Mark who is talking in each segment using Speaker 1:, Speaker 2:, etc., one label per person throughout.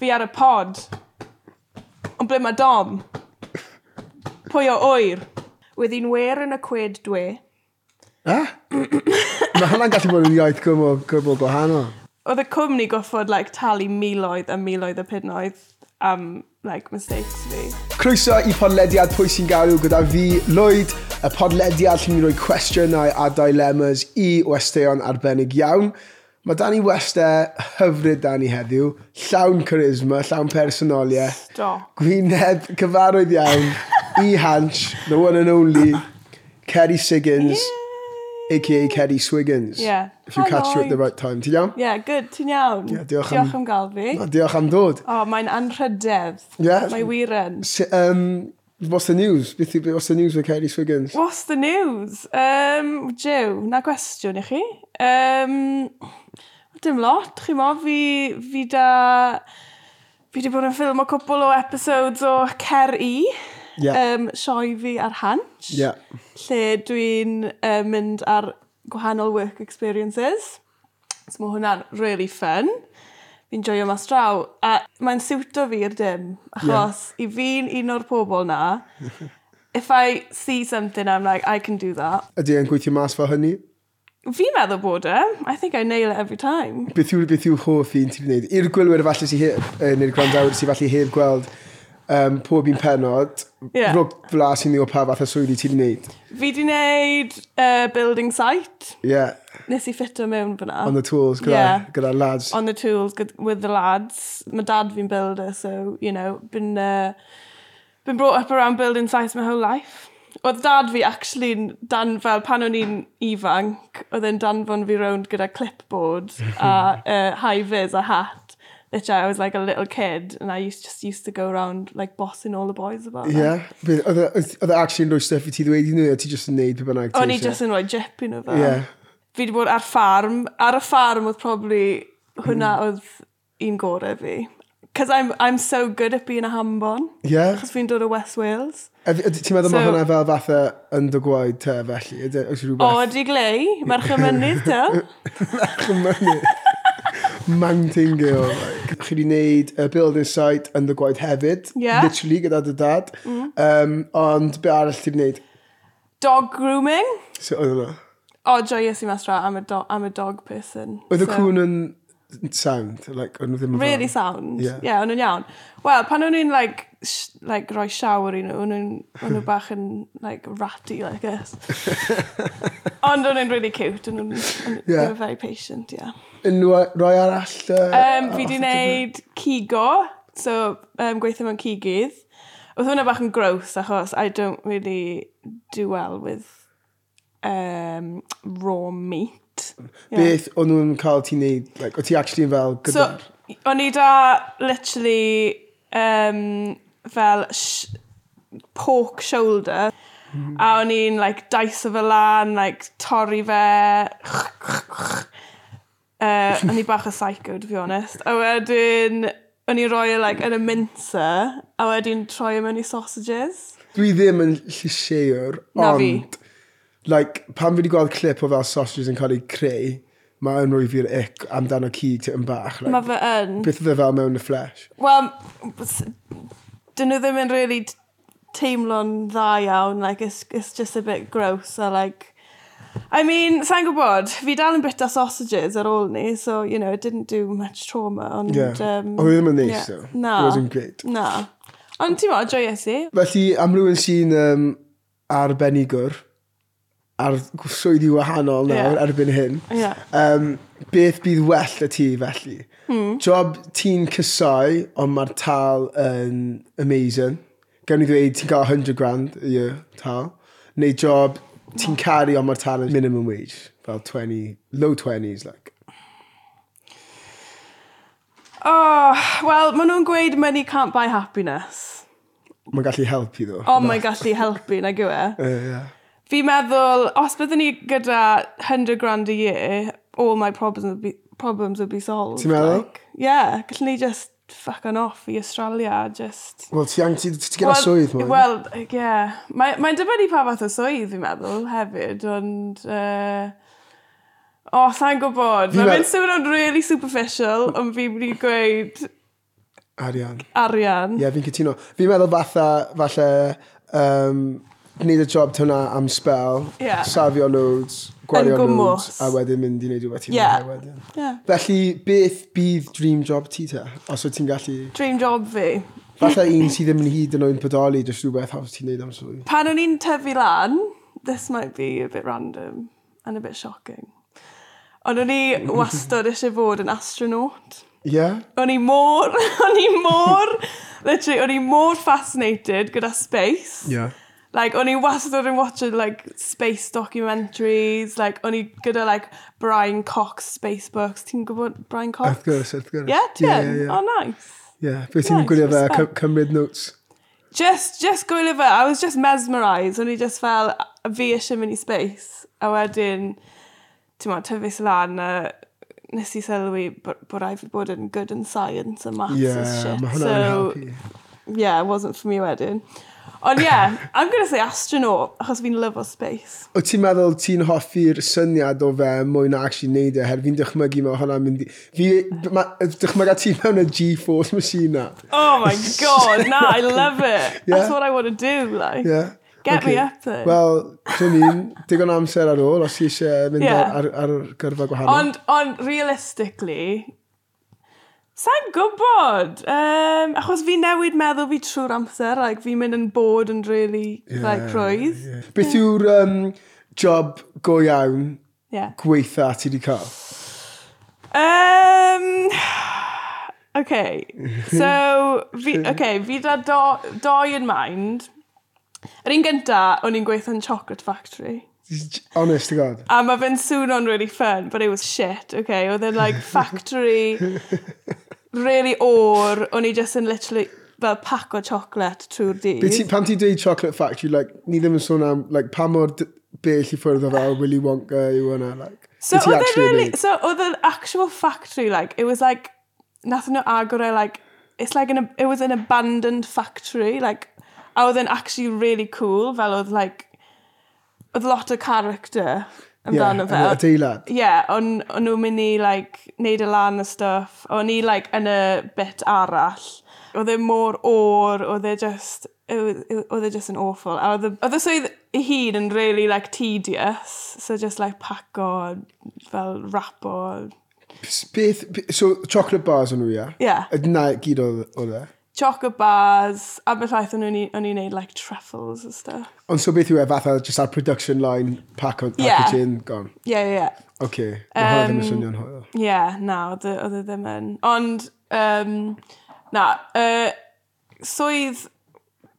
Speaker 1: fi ar y pod. Ond ble mae Dom? Pwy o oer? Wyddi'n wer yn y cwed dwe.
Speaker 2: E? Mae hwnna'n gallu bod yn iaith gwbl, gwbl gwahanol.
Speaker 1: Oedd y cwmni goffod like, talu miloedd a miloedd o pudnoedd am like, mistakes fi.
Speaker 2: Croeso i podlediad Pwy sy'n galw gyda fi, Lloyd, y podlediad lle ni'n rhoi cwestiynau a dilemmas i westeion arbennig iawn. Mae Dani Westau hyfryd Dani heddiw, llawn charisma, llawn personoliaeth,
Speaker 1: Stop.
Speaker 2: gwyneb cyfarwydd iawn, i Hanch, the one and only, Kerry Siggins, aka Kerry Swiggins.
Speaker 1: Yeah.
Speaker 2: If you
Speaker 1: Hi,
Speaker 2: catch her at the
Speaker 1: Lloyd.
Speaker 2: right time. Ti'n iawn?
Speaker 1: Yeah, good, ti'n iawn.
Speaker 2: Ie, diolch am-
Speaker 1: diolch am gael fi.
Speaker 2: O, Diolch am dod.
Speaker 1: O, oh, mae'n anrhydedd.
Speaker 2: Ie.
Speaker 1: Mae wir yn.
Speaker 2: S- Um, what's the news? Beth yw- What's the news with Kerry Swiggins?
Speaker 1: What's the news? Um, Jew, na gwestiwn i chi. Um, dim lot, chi mo, fi, fi da... Fi di bod yn ffilm o cwpl o episodes o Cer I,
Speaker 2: Yeah.
Speaker 1: um, sioi fi ar Hanch,
Speaker 2: Yeah.
Speaker 1: lle dwi'n uh, mynd ar gwahanol work experiences. So mae hwnna'n really fun. Fi'n joio mas draw. A mae'n siwto fi i'r dim. Achos i fi'n un o'r pobol na, if I see something, I'm like, I can do that.
Speaker 2: Ydy e'n gweithio mas fel hynny?
Speaker 1: Fi'n meddwl bod e. I think I nail it every time.
Speaker 2: Beth yw, beth yw hoff un ti'n gwneud? I'r gwylwyr falle sy'n heb, yy, neu'r gwrandawyr sy'n falle heb gweld um, pob un penod,
Speaker 1: Ie.
Speaker 2: rhwb flas i'n ddiwedd pa fath o swyddi ti'n gwneud.
Speaker 1: Fi di wneud uh, building site.
Speaker 2: Yeah,
Speaker 1: Nes i ffito mewn fyna.
Speaker 2: on the tools, gyda,
Speaker 1: Ie.
Speaker 2: gyda lads.
Speaker 1: on the tools gyd- with the lads. My dad fi'n builder, so, you know, been, uh, been brought up around building sites my whole life. Oedd dad fi actually yn dan fel pan o'n i'n ifanc, oedd e'n danfon fi rownd gyda clipboard a uh, high vis a hat. Literally, I was like a little kid and I used, just used to go around like bossing all the boys about that.
Speaker 2: Yeah. Beth- Oedd e- oedd- oedd e actually yn rhoi stuff i ti ddweud i nhw, a ti jyst yn neud pe bynnag ti
Speaker 1: O'n i
Speaker 2: eisiau?
Speaker 1: just yn rhoi jip i nhw fel.
Speaker 2: Yeah.
Speaker 1: Fi wedi bod ar ffarm. Ar y ffarm oedd probably hwnna
Speaker 2: Hmm.
Speaker 1: oedd un gorau fi. Cos I'm, I'm so good at being a hambon.
Speaker 2: Yeah.
Speaker 1: Cos fi'n dod o West Wales.
Speaker 2: Ydy- ydy- Ti'n meddwl mae
Speaker 1: So-
Speaker 2: hwnna fel fath o yn dy gwaed te felly? Ydy oes
Speaker 1: O,
Speaker 2: rhywbeth
Speaker 1: di glei, merch y mynydd te.
Speaker 2: mountain girl. like. Chi wedi wneud y building site yn dy gwaed hefyd.
Speaker 1: Ie.
Speaker 2: Literally gyda dy dad.
Speaker 1: Mm.
Speaker 2: Um, ond be arall ti'n wneud?
Speaker 1: Dog grooming.
Speaker 2: So, oedd hwnna.
Speaker 1: O, joyous i masra, I'm a, do I'm a dog person.
Speaker 2: Oedd y
Speaker 1: So,
Speaker 2: cwn yn sound? Like, oedd nhw ddim yn
Speaker 1: Really
Speaker 2: sound.
Speaker 1: sound.
Speaker 2: Ie.
Speaker 1: Yeah, yeah o'n nhw'n iawn. Wel, pan o'n i'n like, sh like, roi shower i nhw, o'n nhw'n- o'n nhw bach yn like, ratty like this. Ond o'n nhw'n really cute, o'n nhw'n o'n- they
Speaker 2: Ie.
Speaker 1: were very patient, yeah.
Speaker 2: Unrhyw rhoi arall?
Speaker 1: Um, fi di wneud cigo, so um, gweithio mewn cigydd. Oedd hwnna bach yn gross achos I don't really do well with um, raw meat. Ie.
Speaker 2: Beth o'n nhw'n cael ti'n wneud? Like, oedd ti actually yn fel
Speaker 1: So,
Speaker 2: gyda...
Speaker 1: o'n i da literally um, fel sh pork shoulder. A o'n i'n like dice fe lan, like torri fe. uh, o'n i bach o psycho, to be honest. A wedyn, o'n i roi e like yn y mincer. A wedyn troi e mewn i sausages.
Speaker 2: Dwi ddim yn llysieur,
Speaker 1: Na fi.
Speaker 2: ond... Like, pan fi wedi gweld clip o fel sausages yn cael ei creu, mae yn rwy fi'r ic amdano cig ti yn bach. Like,
Speaker 1: Mae fe yn.
Speaker 2: Beth oedd e fel mewn y flesh?
Speaker 1: Wel, s- dyn nhw ddim yn really t- teimlo'n dda iawn. Like, it's, it's just a bit gross. A like, I mean, sa'n gwybod, fi dal yn bita sausages ar ôl ni, so, you know, it didn't do much trauma. Ond,
Speaker 2: Yeah.
Speaker 1: um,
Speaker 2: Oedd e ddim yn neis, though.
Speaker 1: Na.
Speaker 2: It wasn't great.
Speaker 1: Na. Ond ti'n mo, joyous i.
Speaker 2: Felly, am rhywun sy'n um, arbenigwr, ar swyddi wahanol nawr
Speaker 1: Ie.
Speaker 2: erbyn hyn,
Speaker 1: Ie.
Speaker 2: um, beth bydd well y ti felly?
Speaker 1: Hmm.
Speaker 2: Job ti'n cysau, ond mae'r tal yn amazing. Gawn ni ddweud ti'n cael 100 grand y year tal. Neu job ti'n caru, ond mae'r tal yn minimum wage. Fel 20, low 20s, like.
Speaker 1: Oh, wel, maen nhw'n gweud money can't buy happiness. Oh
Speaker 2: Mae'n gallu helpu, ddo.
Speaker 1: Ond mae'n gallu helpu, e. na gwe.
Speaker 2: Uh, yeah.
Speaker 1: Fi meddwl, os byddwn ni gyda 100 grand a year, all my problems would be, problems would be solved.
Speaker 2: Ti'n meddwl?
Speaker 1: Like, yeah, gallwn ni just fuck on off i Australia, just...
Speaker 2: Wel, ti angen, ti, ti gyda swydd, mwyn.
Speaker 1: Wel, yeah. Mae'n mae dibynnu pa fath o swydd, fi'n meddwl, hefyd, ond... Uh, o, oh, sa'n gwybod. Mae'n
Speaker 2: Fi meddwl-
Speaker 1: mynd swnio'n really superficial, ond fi'n mynd i gweud...
Speaker 2: Arian.
Speaker 1: arian.
Speaker 2: Ie, yeah, fi'n cytuno. Fi'n meddwl fatha, falle, um, gwneud y job hwnna am spel,
Speaker 1: Ie.
Speaker 2: safio loads, gwario loads,
Speaker 1: gwmws.
Speaker 2: a wedyn mynd i wneud rhywbeth i
Speaker 1: Ie.
Speaker 2: wneud wedyn.
Speaker 1: Yeah.
Speaker 2: Felly, beth bydd dream job ti te? Os wyt ti'n gallu...
Speaker 1: Dream job fi.
Speaker 2: Falle un sydd ddim yn hyd yn oed podoli, jyst rhywbeth os ti'n neud am swy.
Speaker 1: Pan o'n i'n tyfu lan, this might be a bit random and a bit shocking. Ond o'n i wastad eisiau fod yn astronaut.
Speaker 2: Ie? Yeah?
Speaker 1: O'n i mor, o'n i mor, literally, o'n i mor fascinated gyda space.
Speaker 2: Ie. Yeah.
Speaker 1: Like, o'n i wastad yn watching, like, space documentaries. Like, o'n i gyda, like, Brian Cox space books. Ti'n gwybod Brian Cox?
Speaker 2: Wrth gwrs, wrth gwrs.
Speaker 1: Yeah, ti yn?
Speaker 2: Ie,
Speaker 1: Oh,
Speaker 2: ie,
Speaker 1: nice.
Speaker 2: ie. Fe ti'n
Speaker 1: Nice,
Speaker 2: gwylio fe,
Speaker 1: respect.
Speaker 2: cy- cymryd notes.
Speaker 1: Just, just gwylio fe, I was just mesmerised. O'n i just fel, a fi eisiau mynd i space. A wedyn, ti'n ma, tyfus lan, a nes i sylwi bod, bod rhaid fi bod yn good in science and maths
Speaker 2: Ie,
Speaker 1: and shit.
Speaker 2: mae
Speaker 1: so,
Speaker 2: hwnna'n helpu.
Speaker 1: yeah, it wasn't for me wedyn. Ond yeah, I'm going to say astronaut, achos fi'n lyfo space.
Speaker 2: Wyt ti'n meddwl ti'n hoffi'r syniad o fe mwy na actually neud e, her fi'n dychmygu mae hwnna'n mynd i... Fi, ma, dychmyga ti mewn y G-Force machine na.
Speaker 1: Oh my god, nah, I love it.
Speaker 2: Yeah.
Speaker 1: That's what I want to do, like.
Speaker 2: Yeah.
Speaker 1: Get me up there.
Speaker 2: Wel, dwi'n un, digon amser ar ôl os ti eisiau mynd
Speaker 1: Ie.
Speaker 2: yeah. ar, ar, ar gyrfa gwahanol.
Speaker 1: Ond, ond, realistically, sa'n gwybod. Um, achos fi newid meddwl fi trwy'r amser, like, fi'n mynd yn bod yn really, like, rwydd. Yeah.
Speaker 2: Beth yw'r um, job go iawn gweitha ti wedi cael?
Speaker 1: Um, okay, so, fi, okay, fi da do, doi yn mind. Yr un gynta, o'n i'n gweithio'n Chocolate Factory.
Speaker 2: Honest to God.
Speaker 1: A mae fe'n swno'n really fun, but it was shit, okay? Oedd e'n like factory, really o'r, o'n i just yn literally fel pack o chocolate trwy'r
Speaker 2: Be ti,
Speaker 1: dydd.
Speaker 2: pan ti dweud Chocolate Factory, like, ni ddim yn sôn am, like, pa mor d- bell i ffwrdd o fel Willy Wonka yw yna, like.
Speaker 1: So
Speaker 2: be ti
Speaker 1: oedd e'n
Speaker 2: actually yn
Speaker 1: really,
Speaker 2: neud?
Speaker 1: so oedd e'n actual factory, like, it was like, nath nhw agor e, like, it's like an, it was an abandoned factory, like, a oedd e'n actually really cool, fel oedd like, oedd lot o character amdano fe.
Speaker 2: Ie, y deilad.
Speaker 1: yeah, o'n, o'n nhw'n mynd i, like, neud y lan y stuff. O'n i, like, yn y bit arall. Oedd e mor o'r, oedd e just, it was- it- oedd e just yn awful. A oedd y- oedd y swydd i hyd yn really, like, tedious. So just, like, paco, fel rapo.
Speaker 2: Beth, b- so chocolate bars o'n nhw, ia?
Speaker 1: Ie.
Speaker 2: Na, gyd oedd oedd e.
Speaker 1: Choco bars, a beth llaeth o'n nhw'n i- o'n i'n neud, like, truffles and stuff.
Speaker 2: Ond so beth yw e, fatha, just ar production line, pack on,
Speaker 1: Ie.
Speaker 2: packaging, gone.
Speaker 1: Yeah, yeah, yeah.
Speaker 2: Oce, okay. mae hwnna ddim yn swnio'n hoel.
Speaker 1: Ie, yeah, na, oedd e- oedd e ddim yn. Ond, um, na, uh, swydd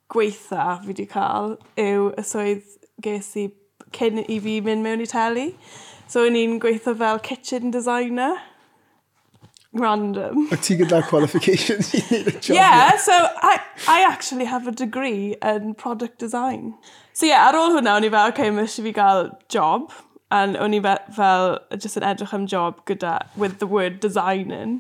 Speaker 1: gweitha fi wedi cael yw y swydd ges i cyn i fi mynd mewn i teli. So, o'n i'n gweitho fel kitchen designer. Random.
Speaker 2: Wyt ti gyda'r qualifications i wneud y job?
Speaker 1: Yeah, so I, I actually have a degree in product design. So yeah, ar ôl hwnna, o'n i fel, okay, mae eisiau fi gael job. And o'n i fe- fel, just yn edrych am job gyda, with the word design in.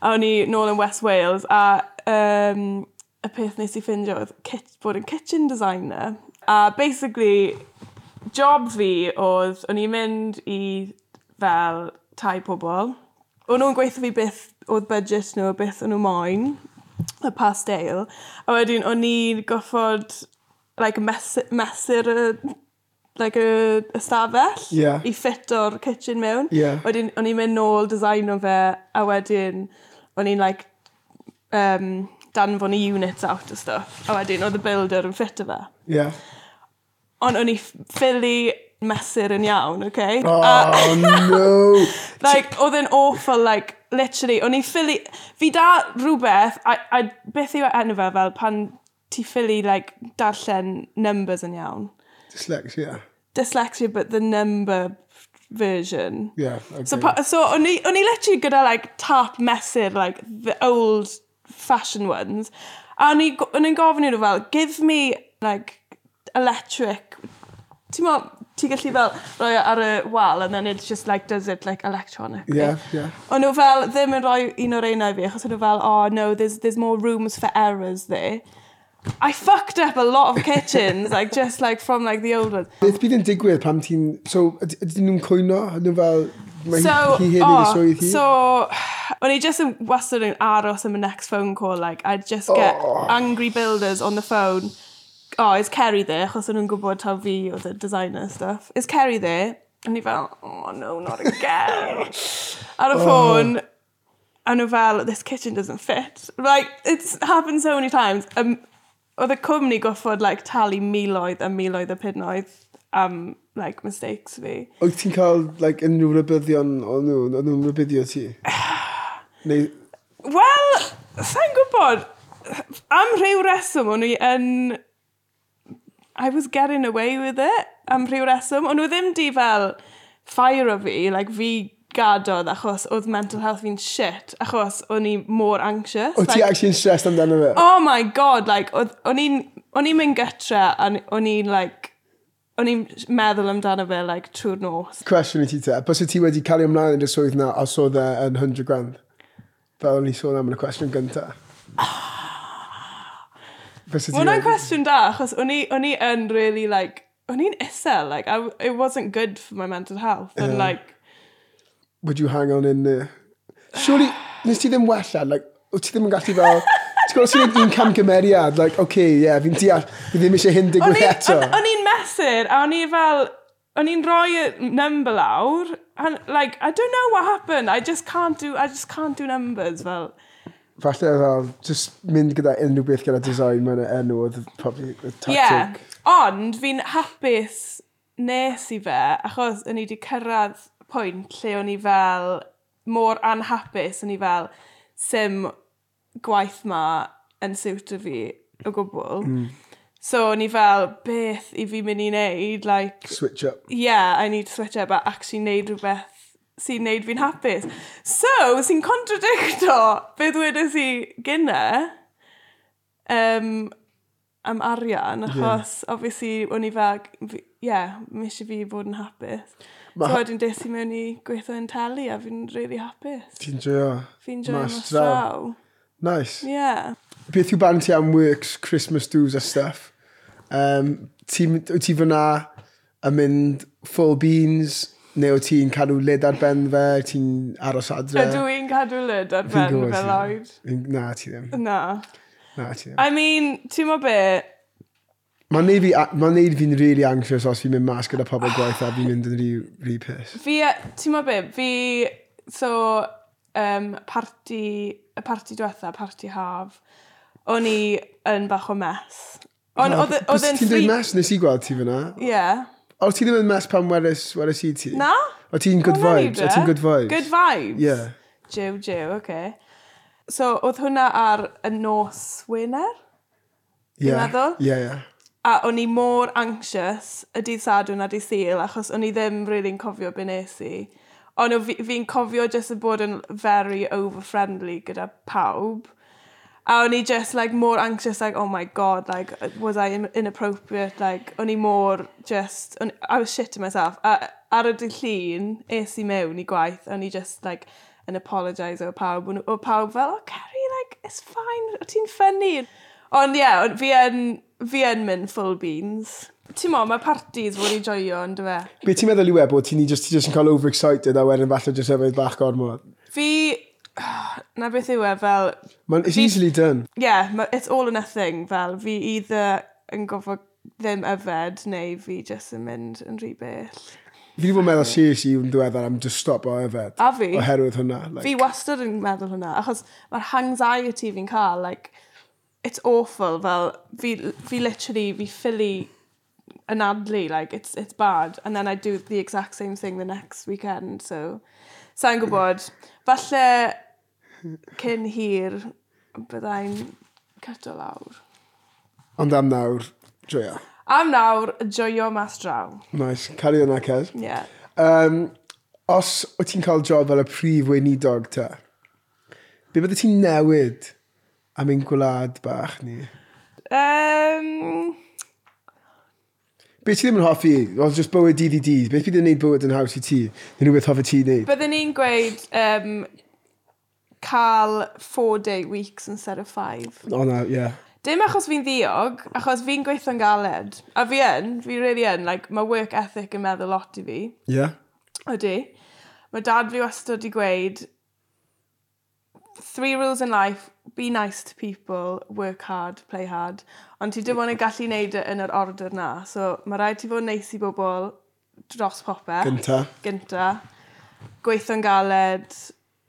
Speaker 1: A o'n i nôl yn West Wales, a um, y peth nes i ffindio oedd kit, bod yn kitchen designer. A basically, job fi oedd, o'n i'n mynd i fel tai pobl. O'n nhw'n gweithio fi beth oedd budget nhw, beth o'n nhw moyn, y pastel. A wedyn o'n i'n goffod, like, mes mesur y, like, y ystafell
Speaker 2: Ie.
Speaker 1: i ffit o'r kitchen mewn.
Speaker 2: Ie.
Speaker 1: Wedyn o'n i'n mynd nôl design o fe, a wedyn o'n i'n, like, um, danfon i units out o stuff. A wedyn oedd y builder yn ffit o fe
Speaker 2: Yeah.
Speaker 1: ond o'n i ffili mesur yn iawn, okay?
Speaker 2: Oh, no!
Speaker 1: like, oedd yn awful, like, literally, o'n i ffili... Fi da rhywbeth, a, a beth yw enw fe fel pan ti ffili, like, darllen numbers yn iawn.
Speaker 2: Dyslexia.
Speaker 1: Dyslexia, but the number version.
Speaker 2: Yeah, okay.
Speaker 1: So, pa, so o'n i, o'n i literally gyda like tap mesur, like the old fashioned ones. A o'n i go- o'n i'n gofyn iddyn nhw fel, give me like electric. Ti'n mo, ti gallu fel rhoi o ar y wal and then it just like does it like electronic.
Speaker 2: Yeah, yeah.
Speaker 1: O'n nhw fel ddim yn rhoi un o'r einau fi, achos o'n nhw fel, oh no, there's, there's more rooms for errors there. I fucked up a lot of kitchens, like just like from like the old ones.
Speaker 2: Beth bydd yn digwydd pam ti'n... So, yd- ydyn nhw'n cwyno? Ydyn nhw fel... Mae
Speaker 1: So,
Speaker 2: hi hefyd i
Speaker 1: oh,
Speaker 2: swydd hi.
Speaker 1: so, o'n i just yn wastad yn aros am y next phone call, like, I'd just get
Speaker 2: Oh.
Speaker 1: angry builders on the phone. Oh, is Kerry there? Achos o'n nhw'n gwybod taw fi oedd y designer stuff. Is Kerry there? And i fel, oh no, not again. Ar y ffôn, a nhw fel, this kitchen doesn't fit. Like, it's happened so many times. Um, oedd y cwmni goffod, like, talu miloedd a miloedd o pudnoedd am, like, mistakes fi.
Speaker 2: Wyt ti'n cael like, unrhyw rybyddion o nhw, o nhw'n rybuddio ti? Neu,
Speaker 1: Wel, sa'n gwybod. Am rhyw reswm, o'n i yn... I was getting away with it, am rhyw reswm. O'n nhw ddim di fel ffair o fi, like fi gadodd achos oedd mental health fi'n shit, achos o'n i mor anxious.
Speaker 2: o ti
Speaker 1: like,
Speaker 2: actually yn stressed amdano fe?
Speaker 1: oh my god, like, oedd- o'n i'n o'n i'n mynd gytra, a o'n i'n, like, o'n i'n meddwl amdano fe, like, trwy'r nos.
Speaker 2: Cwestiwn i ti te, bys ti wedi cael ei ymlaen i'r swydd na os oedd e yn 100 grand? Fel o'n i sôn am yn y cwestiwn gyntaf. Bys ti
Speaker 1: Wel, hwnna'n
Speaker 2: wedi...
Speaker 1: cwestiwn da, achos o'n i o'n i yn really, like, o'n i'n isel, like, I, it wasn't good for my mental health, and,
Speaker 2: Ie.
Speaker 1: like,
Speaker 2: Would you hang on in there? Surely, nes ti ddim wella, like, wyt ti ddim yn gallu fel... Ti'n gwybod os ti'n gwneud un camgymeriad, like, oce, okay, ie, yeah, fi'n deall, fi ddim eisiau hyn
Speaker 1: o'n
Speaker 2: digwydd
Speaker 1: i-
Speaker 2: eto.
Speaker 1: o'n- o'n i'n mesur, a o'n i fel, o'n i'n rhoi y number lawr, and, like, I don't know what happened, I just can't do, I just can't do numbers, fel,
Speaker 2: Falle fel, just mynd gyda unrhyw beth gyda design, mae'n enw oedd probably y tactic.
Speaker 1: yeah. Ond, fi'n hapus nes i fe, achos o'n i wedi cyrraedd pwynt lle o'n i fel, mor anhapus, o'n i fel, sim gwaith ma yn siwtio fi o gwbl. So o'n i fel, beth i fi mynd i wneud, like,
Speaker 2: Switch up.
Speaker 1: yeah, I need to switch up a actually wneud rhywbeth sy'n wneud fi'n hapus. So, sy'n contradicto beth wedes i gyna um, am arian, achos, yeah. obviously, o'n i fag, yeah, mis i fi fod yn hapus.
Speaker 2: Ma-
Speaker 1: Ma so, wedyn des i mewn i gweithio yn teli a fi'n really hapus.
Speaker 2: Ti'n joio?
Speaker 1: Fi'n joio
Speaker 2: Mas
Speaker 1: mas
Speaker 2: draw.
Speaker 1: draw.
Speaker 2: Nice.
Speaker 1: Yeah.
Speaker 2: Beth yw band ti am works, Christmas do's a stuff? Um, ti, wyt ti fyna yn mynd full beans? Neu wyt ti'n cadw lid ar ben fe? Ti'n aros adre?
Speaker 1: Ydw i'n cadw lyd ar
Speaker 2: Fi'n
Speaker 1: ben
Speaker 2: gwybod
Speaker 1: fel
Speaker 2: ti.
Speaker 1: oed.
Speaker 2: Na, ti ddim.
Speaker 1: Na.
Speaker 2: Na, ti ddim.
Speaker 1: I mean, ti'n mo be,
Speaker 2: Mae'n neud, fi, a- ma'n neud fi'n really anxious os fi'n mynd mas gyda pobl gwaith a fi'n mynd yn rhy, rhy piss.
Speaker 1: Fi, ti'n mo be, fi, so, um, parti, y parti diwetha, parti haf, o'n i yn bach o mes. Ond oedd
Speaker 2: Bys
Speaker 1: oedd yn
Speaker 2: Ti'n dweud mes? Nes i gweld ti fyna.
Speaker 1: Ie.
Speaker 2: Oes ti ddim yn mes pan weres, weres i ti?
Speaker 1: Na?
Speaker 2: O ti'n good
Speaker 1: Hwnna'n
Speaker 2: vibes? O
Speaker 1: neud e.
Speaker 2: ti'n good vibes?
Speaker 1: Good vibes?
Speaker 2: Yeah.
Speaker 1: Jiw, jiw, oce. So, oedd hwnna ar y nos Wener,
Speaker 2: Yeah.
Speaker 1: meddwl?
Speaker 2: Yeah, yeah.
Speaker 1: a o'n i mor anxious y dydd sadwn a dydd syl, achos o'n i ddim really'n cofio be nes i. Ond o' fi- fi'n cofio just yn bod yn very over-friendly gyda pawb. A o'n i just like more anxious, like, oh my god, like, was I in- inappropriate? Like, o'n i mor just, o'n, I was shit to myself. A ar y dydd llun, es i mewn i gwaith, o'n i just like, yn apologise o pawb. o'n- O pawb fel, oh, Carrie, like, it's fine, o ti'n ffynnu. Ond ie, yeah, fi yn, fi yn mynd full beans. Ti'n mo, mae parties fod i joio, ond e? fe?
Speaker 2: Be ti'n meddwl i web o ti'n i just, ti just yn cael overexcited a wedyn falle just hefyd bach gormod?
Speaker 1: Fi, na beth yw e, fel,
Speaker 2: Man, it's easily done.
Speaker 1: yeah, ma- it's all or nothing, fel fi either yn gofod ddim yfed neu fi just yn mynd yn rhy bell.
Speaker 2: Fi wedi bod yn meddwl seriously yn ddiweddar am just stop o hefyd.
Speaker 1: A fi?
Speaker 2: Oherwydd hwnna.
Speaker 1: Fi
Speaker 2: Like,
Speaker 1: wastad yn meddwl hwnna, achos mae'r anxiety fi'n cael, like, it's awful, fel, fi, fi literally, fi ffili anadlu, like, it's, it's bad, and then I do the exact same thing the next weekend, so, sa'n gwybod, falle cyn hir byddai'n cyto lawr.
Speaker 2: ond am nawr, joia.
Speaker 1: Am nawr, joio mas draw.
Speaker 2: Nice. Cari yna, Cez.
Speaker 1: Yeah.
Speaker 2: Um, os o ti'n cael job fel y prif weinidog ta, be bydde ti'n newid am ein gwlad bach ni?
Speaker 1: Um,
Speaker 2: Be ti ddim yn hoffi, oedd just bywyd dydd i dydd, beth bydd yn neud bywyd yn haws i ti, neu rhywbeth hoffi ti neud?
Speaker 1: Byddwn ni'n gweud um, cael four day weeks instead of five.
Speaker 2: O na, ie. uh, Yeah.
Speaker 1: Dim achos fi'n ddiog, achos fi'n gweithio'n galed. A fi yn, fi really yn, like, mae work ethic yn meddwl lot i fi.
Speaker 2: Ie? Yeah?
Speaker 1: Ydy. Mae dad fi wastad wedi gweud, three rules in life, be nice to people, work hard, play hard. Ond ti dim ond yn gallu neud e yn yr order na. So mae rhaid ti fod neis i bobl dros popeth.
Speaker 2: Gynta.
Speaker 1: Gynta. Gweithio'n galed,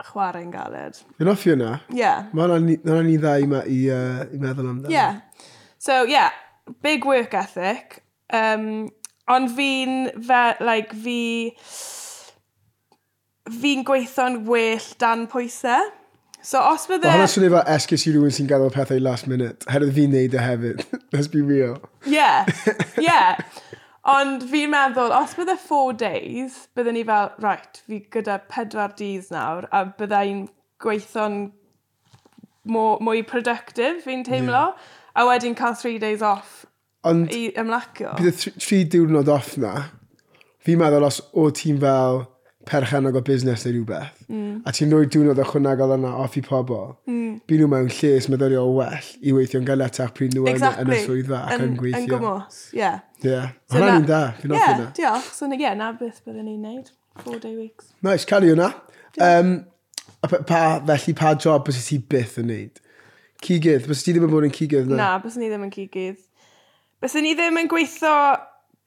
Speaker 1: chwarae'n galed.
Speaker 2: Yn offi yna.
Speaker 1: Yeah.
Speaker 2: Mae hwnna'n ni- hwnna'n ni dda i, ma- i, uh, i meddwl amdano.
Speaker 1: Yeah. So, yeah, big work ethic. Um, ond fi'n, fe, like, fi... Fi'n gweithio'n well dan pwysau. So, os bydde...
Speaker 2: Mae hwnna'n swnio fel esgus i rhywun sy'n gadael pethau last minute. Herwydd fi'n neud e hefyd. Let's be real.
Speaker 1: Yeah, yeah. Ond fi'n meddwl, os bydde four days, bydden ni fel, right, fi gyda pedwar dydd nawr, a byddai'n gweithio'n mo- mwy productive, fi'n teimlo, a wedyn cael three days off
Speaker 2: Ond
Speaker 1: i ymlacio.
Speaker 2: bydd y thr- tri diwrnod off na, fi'n meddwl os o ti'n fel perchenog o busnes neu rhywbeth, a ti'n rhoi diwrnod ychwanegol yna off i pobl, mm. byd nhw mewn lles meddyliol well i weithio'n galetach pryd nhw yn- yn y swyddfa ac yn
Speaker 1: Yn
Speaker 2: gweithio.
Speaker 1: gymwys, yeah.
Speaker 2: Ie. Hwna'n un da, fi'n offi
Speaker 1: Yeah,
Speaker 2: yna.
Speaker 1: diolch. So, na- yeah, na beth bydden ni'n neud, four day weeks.
Speaker 2: Nice, cael i hwnna. Um, a pa- pa, felly pa job bys ti byth yn neud? Cigydd, bys ti ddim yn bod yn cigydd na?
Speaker 1: Na, bys ni ddim yn cigydd. Bys ni ddim yn gweithio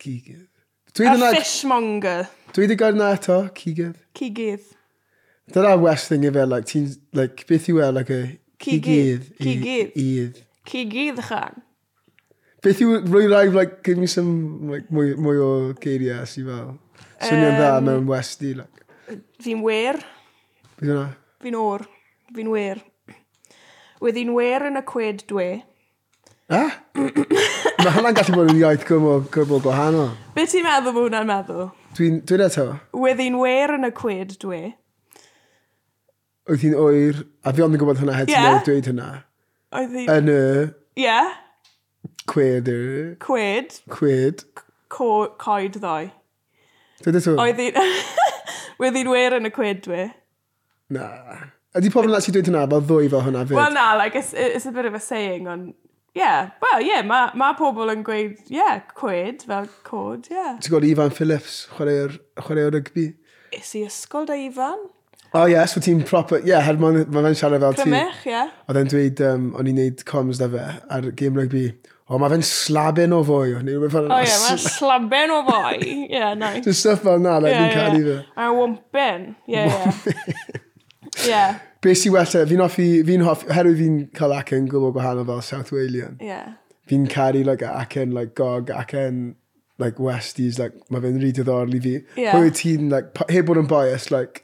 Speaker 2: Cigydd. Dwi
Speaker 1: a
Speaker 2: ddim yn...
Speaker 1: fishmonger.
Speaker 2: Dwi wedi gael na eto, cigydd.
Speaker 1: Cigydd.
Speaker 2: Dyna West thing ife, like, ti'n, like, beth yw e, like, a...
Speaker 1: Cigydd, cigydd.
Speaker 2: Cigydd. Idd.
Speaker 1: Cigydd chan.
Speaker 2: Beth yw, rwy'n rhaid, like, give me some, like, mwy, mwy o geiriau sy'n fel. Swnio'n dda mewn Westy, like.
Speaker 1: Fi'n wer,
Speaker 2: Beth yna?
Speaker 1: fi'n o'r, fi'n wer. Wyddi'n wer yn y cwed dwe.
Speaker 2: Eh? Mae hwnna'n gallu bod yn iaith gwbl, gwbl gwahanol.
Speaker 1: Be ti'n meddwl bod hwnna'n meddwl?
Speaker 2: Dwi'n, dwi'n eto,
Speaker 1: Wyddi'n wer yn y cwed dwe.
Speaker 2: oedd hi'n oer, a fi ond yn gwybod hynna, het ti'n
Speaker 1: Ie.
Speaker 2: yeah. dweud hynna.
Speaker 1: Oedd hi...
Speaker 2: Yn y
Speaker 1: Ie,
Speaker 2: cwed, y
Speaker 1: cwed,
Speaker 2: cwed.
Speaker 1: co, coed ddoe.
Speaker 2: Dwi'n eto,
Speaker 1: Oedd hi'n... Wyddi'n wer yn y cwed dwe.
Speaker 2: na. Ydy pobl yn actually dweud hynna, fel ddwy fel hwnna fyd?
Speaker 1: Wel na, like, it's, it's a bit of a saying on... Yeah, well, yeah, mae ma pobl yn gweud, yeah, cwed, fel cod, yeah.
Speaker 2: Ti'n gwybod Ivan Phillips, chwaraeo'r chwarae rygbi?
Speaker 1: Is i ysgol da ifan?
Speaker 2: O oh, ie, yeah, so ti'n proper... Ie, yeah, had mae fe'n siarad fel ti.
Speaker 1: Crymych, yeah.
Speaker 2: Oedd e'n dweud, um, o'n i'n neud comms da fe ar game rugby. O, mae fe'n slabyn o fwy. Neu rhywbeth fel
Speaker 1: O ie, mae'n slaben o foi. Ie, nice.
Speaker 2: Just stuff fel na, like,
Speaker 1: Ie,
Speaker 2: yeah, fi'n caru
Speaker 1: ie.
Speaker 2: fe.
Speaker 1: A wwmpen. Ie, ie. Ie,
Speaker 2: Be sy'n well, te, fi'n hoffi, fi'n hoffi, herwydd fi'n cael acen gwbl gwahanol fel South Walian.
Speaker 1: ie.
Speaker 2: Fi'n caru, like, acen, like, gog, acen, like, Westies, like, mae fe'n rhy diddorol i fi.
Speaker 1: Ie.
Speaker 2: Pwy wyt ti'n, like, pa- heb bod yn bias, like,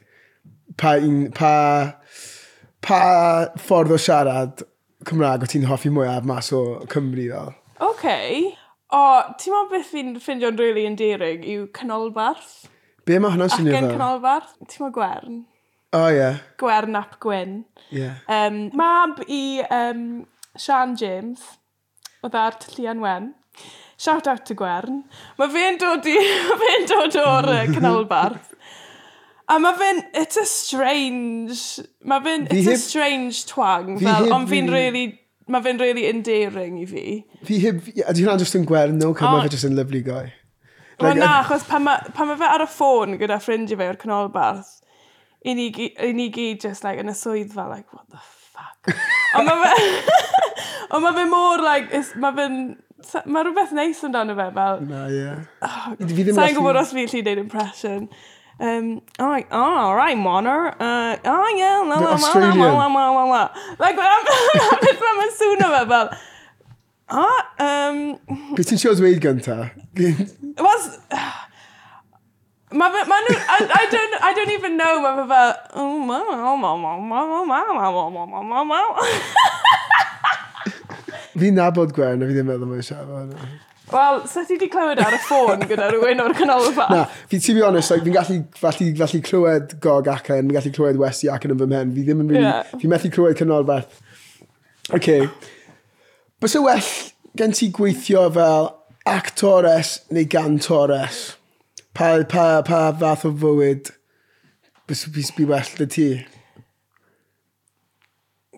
Speaker 2: pa un, pa, pa ffordd o siarad Cymraeg o ti'n hoffi mwyaf mas o Cymru fel?
Speaker 1: OK. O, ti'n meddwl beth fi'n ffindio'n really endearing yw canolbarth?
Speaker 2: Be mae hwnna'n
Speaker 1: Ac
Speaker 2: swnio
Speaker 1: yn
Speaker 2: fel?
Speaker 1: canolbarth? Ti'n meddwl gwern?
Speaker 2: O ie,
Speaker 1: Gwern ap gwyn.
Speaker 2: ie.
Speaker 1: Um, mab i um, Sian James, o ddar Tyllian Wen. Shout out to Gwern. Mae fe'n dod i... mae fe'n dod o'r uh, canolbarth. A mae fe'n... It's a strange... Mae fe'n...
Speaker 2: Fi
Speaker 1: It's a
Speaker 2: heb-
Speaker 1: strange twang.
Speaker 2: fi
Speaker 1: fel,
Speaker 2: heb
Speaker 1: ond fi'n
Speaker 2: rili-
Speaker 1: really... Mae fe'n really endearing i fi.
Speaker 2: Fi heb... ie, Ydy hwnna'n just yn gwern, no? Cymru,
Speaker 1: O.
Speaker 2: mae fe just yn lovely guy.
Speaker 1: Wel
Speaker 2: Like,
Speaker 1: na,
Speaker 2: uh,
Speaker 1: achos pan mae ma fe ar y ffôn gyda ffrindiau fe o'r canolbarth, i ni, gy- i ni gyd just like yn y swyddfa, like, what the fuck? Ond mae fe... Ond mae fe mor, like, is- mae fe'n... sa- Mae rhywbeth neis amdano fe, fel...
Speaker 2: Na, ie. Fi
Speaker 1: Sa'n
Speaker 2: ddim gallu-
Speaker 1: gwybod os fi'n lli neud impression. Um, oh, like, oh, all right, Monor. Uh, oh, yeah, la, la, la, la, la, la, la, la, la. Like, I'm beth mae'n swnio fe, fel... Ah, um,
Speaker 2: Beth ti'n siarad dweud gynta?
Speaker 1: It was. Ma, fe- ma nhw, I, I, don't, I don't even know ma fe fel, oh, ma, ma, ma, ma, ma, ma, ma, ma, ma, ma, ma, ma, ma.
Speaker 2: Fi'n nabod gwern, a fi ddim meddwl mae'n siarad fel hwnna.
Speaker 1: Wel, sa ti di clywed ar y ffôn gyda rhywun o'r canolfa?
Speaker 2: Na, fi, to be honest, like, fi'n gallu, gallu, gallu clywed gog acen, fi'n gallu clywed westi acen yn fy mhen. Fi ddim yn really...
Speaker 1: Ie.
Speaker 2: Fi methu clywed cynolbeth. OK. Bys y well gen ti gweithio fel actores neu gantores? Pa, pa, pa fath o fywyd bys y well dy ti?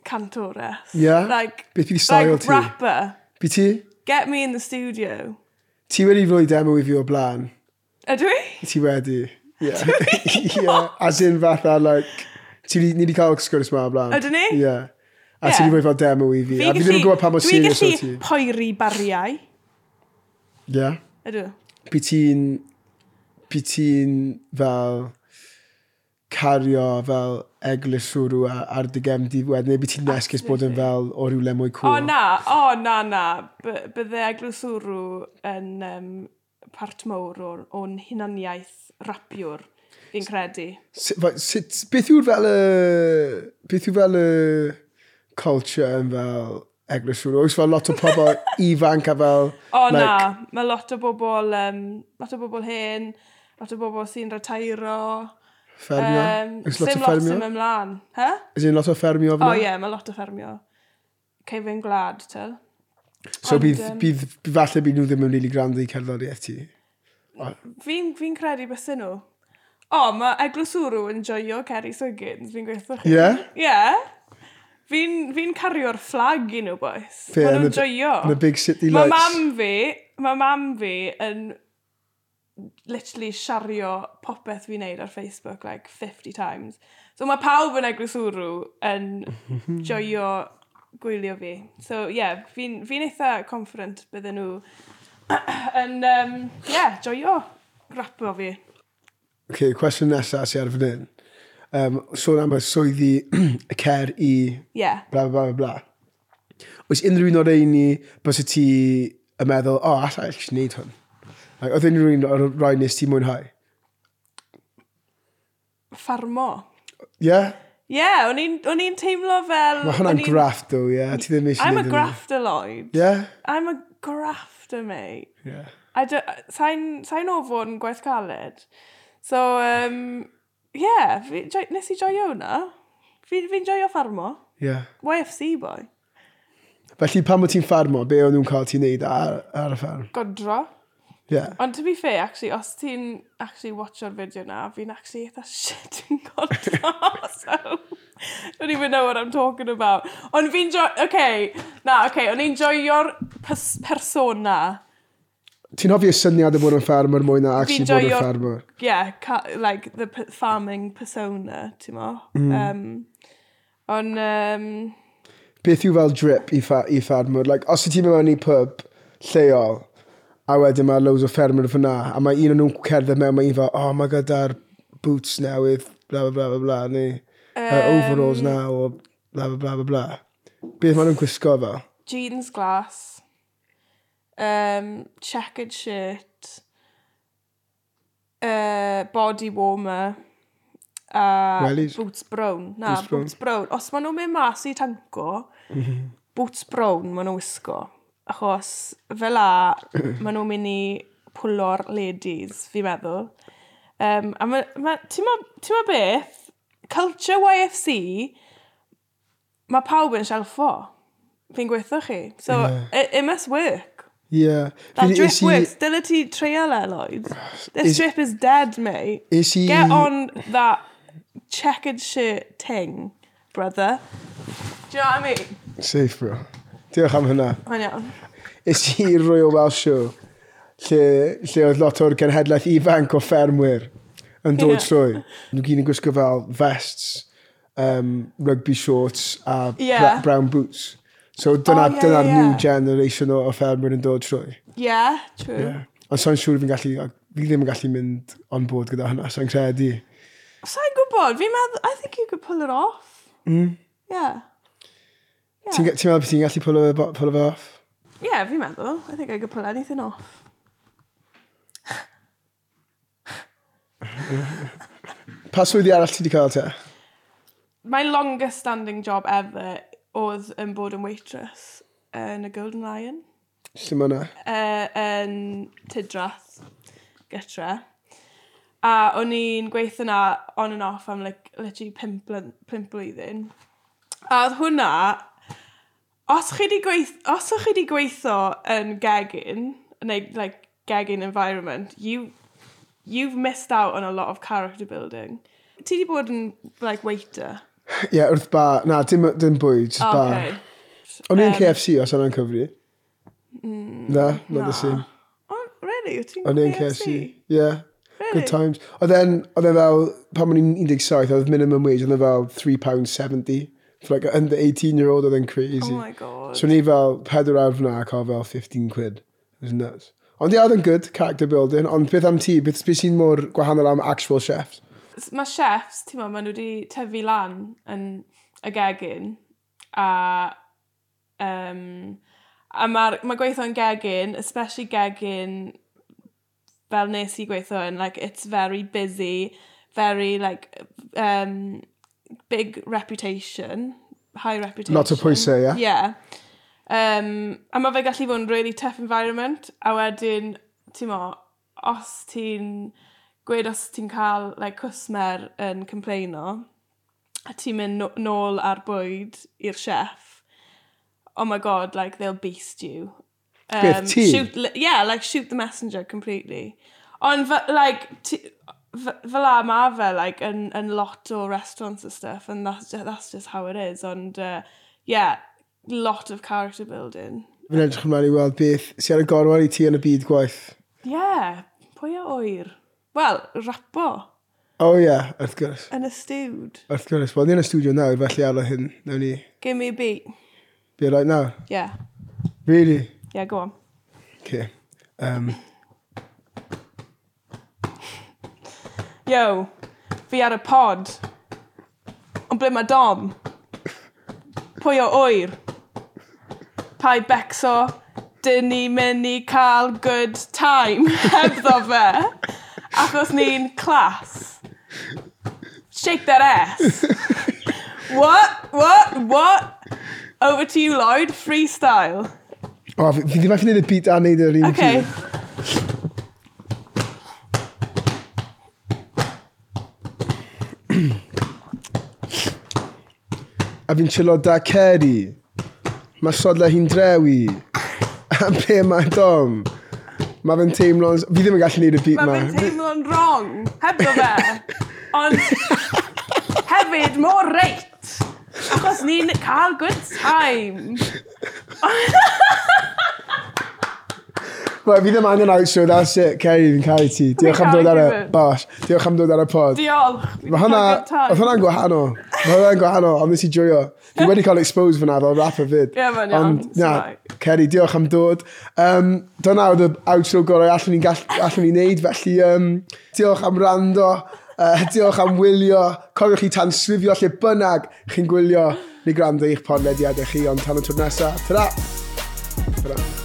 Speaker 1: Cantores.
Speaker 2: Yeah?
Speaker 1: Like,
Speaker 2: Beth bydd style
Speaker 1: like
Speaker 2: ti?
Speaker 1: rapper.
Speaker 2: Bi ti?
Speaker 1: Get me in the studio.
Speaker 2: Ti wedi rhoi demo i fi o blaen.
Speaker 1: Ydw i?
Speaker 2: Ti wedi. Yeah. yeah. As in fatha, like, ti ni ni di cael sgwrs ma o blaen.
Speaker 1: O, 'dyn ni?
Speaker 2: Yeah. A
Speaker 1: Ie.
Speaker 2: ti di rhoi fel demo i fi.
Speaker 1: Fi
Speaker 2: A fi ddim yn gwybod pa mor serious o ti.
Speaker 1: Dwi'n gallu poeri bariau.
Speaker 2: Yeah.
Speaker 1: Ydw.
Speaker 2: By ti'n... By ti'n fel cario fel eglwys swrw a- ar dy gem di wedyn, neu by ti'n nesgus bod yn fel o rhywle mwy
Speaker 1: O
Speaker 2: cool.
Speaker 1: na, o na na. B- Bydde eglwyswrw yn um, part mowr o'r o'n hunaniaeth rapiwr, fi'n credu.
Speaker 2: Sut- fe- Sut, beth yw'r fel y... Beth yw fel y culture yn fel eglwys swrw? Oes fel lot o pobl ifanc a fel...
Speaker 1: O
Speaker 2: like,
Speaker 1: na, mae lot o bobl, um, lot o bobl hen, lot o bobl sy'n retairo.
Speaker 2: Ffermio?
Speaker 1: Um,
Speaker 2: Oes lot
Speaker 1: Sim
Speaker 2: o
Speaker 1: lot sy'n
Speaker 2: ffermio?
Speaker 1: mynd mlaen. He?
Speaker 2: Is it lot o ffermio?
Speaker 1: O ie, mae lot o ffermio. Ceifi'n gwlad, tyl.
Speaker 2: So
Speaker 1: Ond,
Speaker 2: bydd,
Speaker 1: yym,
Speaker 2: bydd, bydd falle bydd nhw ddim yn rili grand i cerddoriaeth ti.
Speaker 1: Fi'n fi credu beth nhw. O, mae eglwyswrw yn joio Ceri Swiggins, fi'n gweithio chi.
Speaker 2: Ie?
Speaker 1: Yeah. Fi'n fi cario'r fflag i nhw, boys.
Speaker 2: Fe,
Speaker 1: Mae
Speaker 2: yn y-
Speaker 1: nhw'n joio.
Speaker 2: Yn y big city
Speaker 1: Mae
Speaker 2: lights.
Speaker 1: mam fi, mae mam fi yn literally siario popeth fi'n neud ar Facebook like 50 times. So mae pawb yn eglwyswrw yn joio gwylio fi. So yeah, fi'n fi eitha confident bydden nhw yn, um, yeah, joio rapo fi.
Speaker 2: Okay, cwestiwn nesaf sy'n ar fan hyn. Um, sôn am y swyddi y cer i
Speaker 1: Yeah.
Speaker 2: bla bla bla bla. Oes unrhyw un o'r eini bys y ti yn meddwl, o, oh, allai eich wneud hwn. Like, oedd unrhyw un o'r rai nes ti mwynhau.
Speaker 1: Ffarmo.
Speaker 2: Ie? Yeah?
Speaker 1: Ie, yeah, o'n i'n- o'n i'n teimlo fel...
Speaker 2: Mae hwnna'n
Speaker 1: o'n i'n-
Speaker 2: graff, dw, ie? Yeah? Ti ddim eisiau
Speaker 1: I'm a
Speaker 2: wneud
Speaker 1: grafter, Lloyd.
Speaker 2: Ie?
Speaker 1: I'm a grafter, mate.
Speaker 2: Ie.
Speaker 1: I do, sain, sain o fod yn gwaith caled. So, um, yeah, fi, joi, nes i joio hwnna. Fi'n fi joio ffarmo.
Speaker 2: Ie.
Speaker 1: YFC boy.
Speaker 2: Felly pan mae ti'n ffarmo, be o'n nhw'n cael ti'n neud ar, ar y ffarm?
Speaker 1: Godro.
Speaker 2: Ie. Yeah.
Speaker 1: Ond to be fair, actually, os ti'n actually watcho'r fideo na, fi'n actually eitha shit yn godro. so, don't even know what I'm talking about. Ond fi'n joio... Okay, na, okay, o'n i'n joio'r pers persona.
Speaker 2: Ti'n hoffi y syniad o bod yn ffarmwr mwy na actually
Speaker 1: Fi'n
Speaker 2: bod yn
Speaker 1: joio-
Speaker 2: ffarmwr?
Speaker 1: yeah, ca- like the p- farming persona, ti'n mo? Mm. Um, on, um,
Speaker 2: Beth yw fel drip i, ffa, i ffarmwr? Like, os y ti'n mynd mewn i pub lleol, a wedyn mae loads o ffermwr fyna, a mae un o'n nhw'n cerdded mewn, mae un fel, oh, mae gyda'r boots newydd, bla bla bla bla bla, neu uh, overalls na, o bla bla bla bla bla. Beth maen nhw'n gwisgo fel?
Speaker 1: jeans glass, um, checkered shirt, uh, body warmer, a
Speaker 2: Wellies?
Speaker 1: boots brown. Na,
Speaker 2: Boots
Speaker 1: boots
Speaker 2: brown.
Speaker 1: brown. Os maen nhw'n mynd mas i tanco, boots brown maen nhw'n wisgo. Achos fel a, maen nhw'n mynd i pwlo'r ladies, fi'n meddwl. Um, a ma, ma, ti'n ma, ti'n ma beth? Culture YFC, mae pawb yn shelffo. Fi'n gweithio chi. So, it, it must work.
Speaker 2: Yeah.
Speaker 1: That
Speaker 2: Fi-
Speaker 1: drip
Speaker 2: es i-
Speaker 1: works. Dyle ti treial e, Lloyd. This
Speaker 2: Is-
Speaker 1: drip is dead, mate.
Speaker 2: Es i...
Speaker 1: Get on that checkered shirt ting, brother. Do you know what I mean?
Speaker 2: Safe, bro. Diolch am hynna.
Speaker 1: Mae'n iawn.
Speaker 2: Es i'r Royal Welsh Show, lle, lle oedd lot o'r genhedlaeth ifanc o ffermwyr yn dod
Speaker 1: Ie.
Speaker 2: trwy. Nhw gyd yn gwisgo fel vests, um, rugby shorts a
Speaker 1: Ie.
Speaker 2: bra brown boots. So dyna,
Speaker 1: O, ie,
Speaker 2: dyna'r
Speaker 1: ie,
Speaker 2: new
Speaker 1: ie.
Speaker 2: generation o, o ffermwyr yn dod trwy.
Speaker 1: Yeah, true.
Speaker 2: Ond so'n siŵr fi'n gallu, fi ddim yn gallu mynd on board gyda hynna, so'n credu.
Speaker 1: Sa'n gwybod, fi'n meddwl, I think you could pull it off. Mm. Yeah.
Speaker 2: Ti'n ga- ti'n meddwl bod ti'n gallu pull o- pull o fe off?
Speaker 1: Yeah, fi'n meddwl. I think I could pull anything off.
Speaker 2: Pa swyddi arall ti wedi cael te?
Speaker 1: My longest standing job ever oedd yn bod yn waitress yn y Golden Lion.
Speaker 2: Lle mae hwnna?
Speaker 1: uh, yn Tidrath, gytra. A o'n i'n gweithio na on and off am like, literally pimp, blyn- pimp blwyddyn. A oedd hwnna, os chi di gweithio, os o'ch chi di gweithio yn gegin, neu like, gegin environment, you, you've missed out on a lot of character building. Ti di bod yn like, waiter?
Speaker 2: Ie, yeah, wrth ba... Na, dim, dim bwyd, just bar.
Speaker 1: Okay.
Speaker 2: O'n i'n
Speaker 1: Yym. Mm,
Speaker 2: KFC os o'n cyfri. Na, not the same.
Speaker 1: Oh, really? Wyt ti'n
Speaker 2: O'n i'n KFC. Yeah. Good times. Oedd e'n, oedd e fel, pan o'n i'n 17, oedd minimum wage, oedd e fel £3.70. For like an under 18 year old, oedd e'n crazy.
Speaker 1: Oh my god.
Speaker 2: So ni fel pedwar awr fyna ac o fel 15 quid. It was nuts. Ond ia, oedd yn good, character building. Ond beth am ti? Beth beth sy'n mor gwahanol am actual chefs?
Speaker 1: Mae chefs, ti'n meddwl, maen nhw wedi tyfu lan yn y gegin a um, a mae'r ma gweithio yn gegin, especially gegin fel nes i gweithio yn, like, it's very busy, very, like, um, big reputation, high reputation.
Speaker 2: Lot o pwysau, ie?
Speaker 1: Yeah. Um, a mae fe gallu fod yn really tough environment, a wedyn, ti'n mo, os ti'n gweud os ti'n cael like, cwsmer yn complaino, a ti'n mynd no- nôl ar bwyd i'r chef, oh my god, like, they'll beast you. Um,
Speaker 2: Beth, ti?
Speaker 1: Shoot, li- yeah, like, shoot the messenger completely. Ond, fe- like, ti, fe- fel a ma fe, like, yn, yn lot o restaurants and stuff, and that's just, that's just how it is. Ond, uh, yeah, lot of character building.
Speaker 2: Fi'n edrych ymlaen i weld beth sy'n ar y gorwar i ti yn y byd gwaith.
Speaker 1: Yeah, pwy o oer? Wel, rapo
Speaker 2: O oh, ie, yeah, wrth gwrs.
Speaker 1: yn y stiwd.
Speaker 2: Wrth gwrs, wel, ni yn y studio nawr, felly ar y hyn, nawn ni
Speaker 1: Give me a beat.
Speaker 2: be right now.
Speaker 1: Yeah,
Speaker 2: Really?
Speaker 1: yeah, go on.
Speaker 2: Okay. Um,
Speaker 1: Yo, fi ar y pod. Ond ble mae Dom? Pwy o oer? Pai becso, dyn ni mynd i cael good time hebddo fe. Achos ni'n clas. Shake that ass. What? What? What? Over to you, Lloyd. Freestyle.
Speaker 2: o, oh, fi fi ddim allu gwneud y beat a wneud yr un
Speaker 1: Okay.
Speaker 2: pryd. A fi'n chilo da Ceri. Mae sodla hi'n drewi. A be mae dom? Mae fe'n teimlo'n... Fi ddim yn gallu gwneud y beat
Speaker 1: Mae
Speaker 2: ma.
Speaker 1: fe'n teimlo'n wrong, hebddo fe. Ond hefyd mor reit. Achos ni'n cael good time.
Speaker 2: Right, fi ddim angen outro, that's it. Ceri, fi'n caru ti. Diolch am dod ar y...
Speaker 1: caru ti.
Speaker 2: Bosh. Diolch am dod ar y pod.
Speaker 1: Diolch.
Speaker 2: Mae hwnna... Oedd hwnna'n gwahanol. Mae hwnna'n gwahanol, ond nes i joio. Fi wedi cael exposed fyna fel rap y fyd.
Speaker 1: Ie, ma'n iawn,
Speaker 2: Ond,
Speaker 1: it's
Speaker 2: na,
Speaker 1: alright.
Speaker 2: Ceri, diolch am dod. Um, dyna oedd y outro gorau allan ni'n gall- allan ni wneud, felly um, diolch am rando, uh, diolch am wylio. Cofiwch chi tanslifio lle bynnag chi'n gwylio neu gwrando i'ch podlediadau chi, ond tan y tŵr nesaf. Ta-ra! Ta-ra!